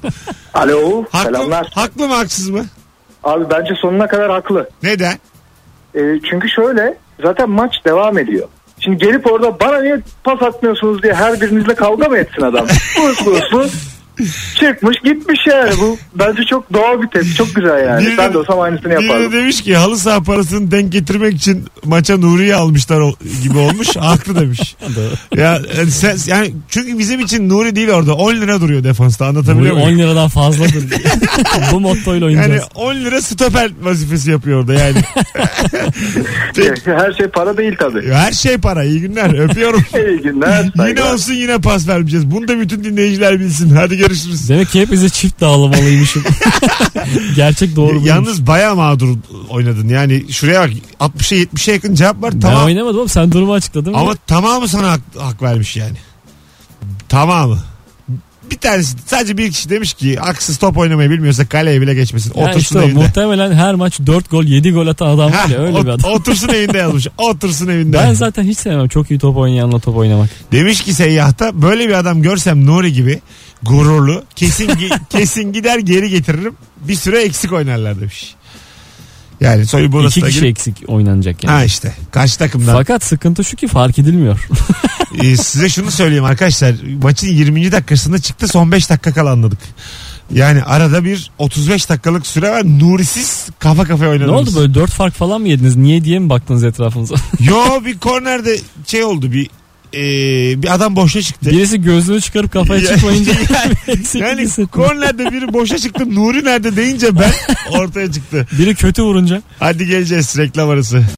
Speaker 6: Alo,
Speaker 2: Haklı, haklı mı haksız mı?
Speaker 6: Abi bence sonuna kadar haklı.
Speaker 2: Neden?
Speaker 6: E, çünkü şöyle zaten maç devam ediyor. Şimdi gelip orada bana niye pas atmıyorsunuz diye her birinizle kavga mı etsin adam? Vurs vursun. Çıkmış gitmiş yani bu bence çok doğal bir tepki çok güzel yani.
Speaker 2: Biri de-
Speaker 6: ben de olsam aynısını
Speaker 2: Biri
Speaker 6: yapardım.
Speaker 2: demiş ki halı saha parasını denk getirmek için maça Nuri'yi almışlar ol- gibi olmuş. haklı demiş. ya yani sen, yani çünkü bizim için Nuri değil orada. 10 lira duruyor defansta
Speaker 4: Bu
Speaker 2: anlatabiliyor muyum?
Speaker 4: 10 liradan fazladır. bu mottoyla
Speaker 2: Yani
Speaker 4: oynayacağız.
Speaker 2: 10 lira stoper vazifesi yapıyor orada yani. Peki,
Speaker 6: Her şey para değil tabii.
Speaker 2: Her şey para. İyi günler. Öpüyorum.
Speaker 6: İyi günler.
Speaker 2: yine olsun yine pas vermeyeceğiz. Bunu da bütün dinleyiciler bilsin. Hadi görüşürüz.
Speaker 4: Demek ki hepimize çift dağılmalıymışım. Gerçek doğru buymuş.
Speaker 2: E, Yalnız bayağı mağdur oynadın. Yani şuraya bak 60'a 70'e yakın cevap var.
Speaker 4: Ben
Speaker 2: Tamam.
Speaker 4: oynamadım ama sen durumu açıkladın.
Speaker 2: Ama tamamı sana hak, hak vermiş yani. Tamamı. bir tanesi sadece bir kişi demiş ki haksız top oynamayı bilmiyorsa kaleye bile geçmesin.
Speaker 4: Ya
Speaker 2: Otursun
Speaker 4: işte o,
Speaker 2: evinde.
Speaker 4: muhtemelen her maç 4 gol 7 gol atan adam var ya
Speaker 2: Ha,
Speaker 4: öyle
Speaker 2: ot-
Speaker 4: bir adam.
Speaker 2: Otursun evinde yazmış. Otursun evinde.
Speaker 4: Ben zaten hiç sevmem çok iyi top oynayanla top oynamak.
Speaker 2: Demiş ki seyyahta böyle bir adam görsem Nuri gibi gururlu kesin gi- kesin gider geri getiririm. Bir süre eksik oynarlar demiş. Yani soyu
Speaker 4: İki
Speaker 2: bonusuna
Speaker 4: kişi
Speaker 2: girip-
Speaker 4: eksik oynanacak yani.
Speaker 2: Ha işte karşı takımdan.
Speaker 4: Fakat sıkıntı şu ki fark edilmiyor.
Speaker 2: Ee, size şunu söyleyeyim arkadaşlar. Maçın 20. dakikasında çıktı son 5 dakika kala anladık. Yani arada bir 35 dakikalık süre var. Nurisiz kafa kafaya
Speaker 4: ne
Speaker 2: oynadınız.
Speaker 4: oldu böyle 4 fark falan mı yediniz? Niye diye mi baktınız etrafınıza?
Speaker 2: Yo bir kornerde şey oldu bir e, bir adam boşa çıktı.
Speaker 4: Birisi gözlüğü çıkarıp kafaya
Speaker 2: Ya-
Speaker 4: çıkmayınca eksiklik
Speaker 2: Yani
Speaker 4: hissettim.
Speaker 2: kornerde biri boşa çıktı. Nuri nerede deyince ben ortaya çıktı.
Speaker 4: Biri kötü vurunca.
Speaker 2: Hadi geleceğiz reklam arası.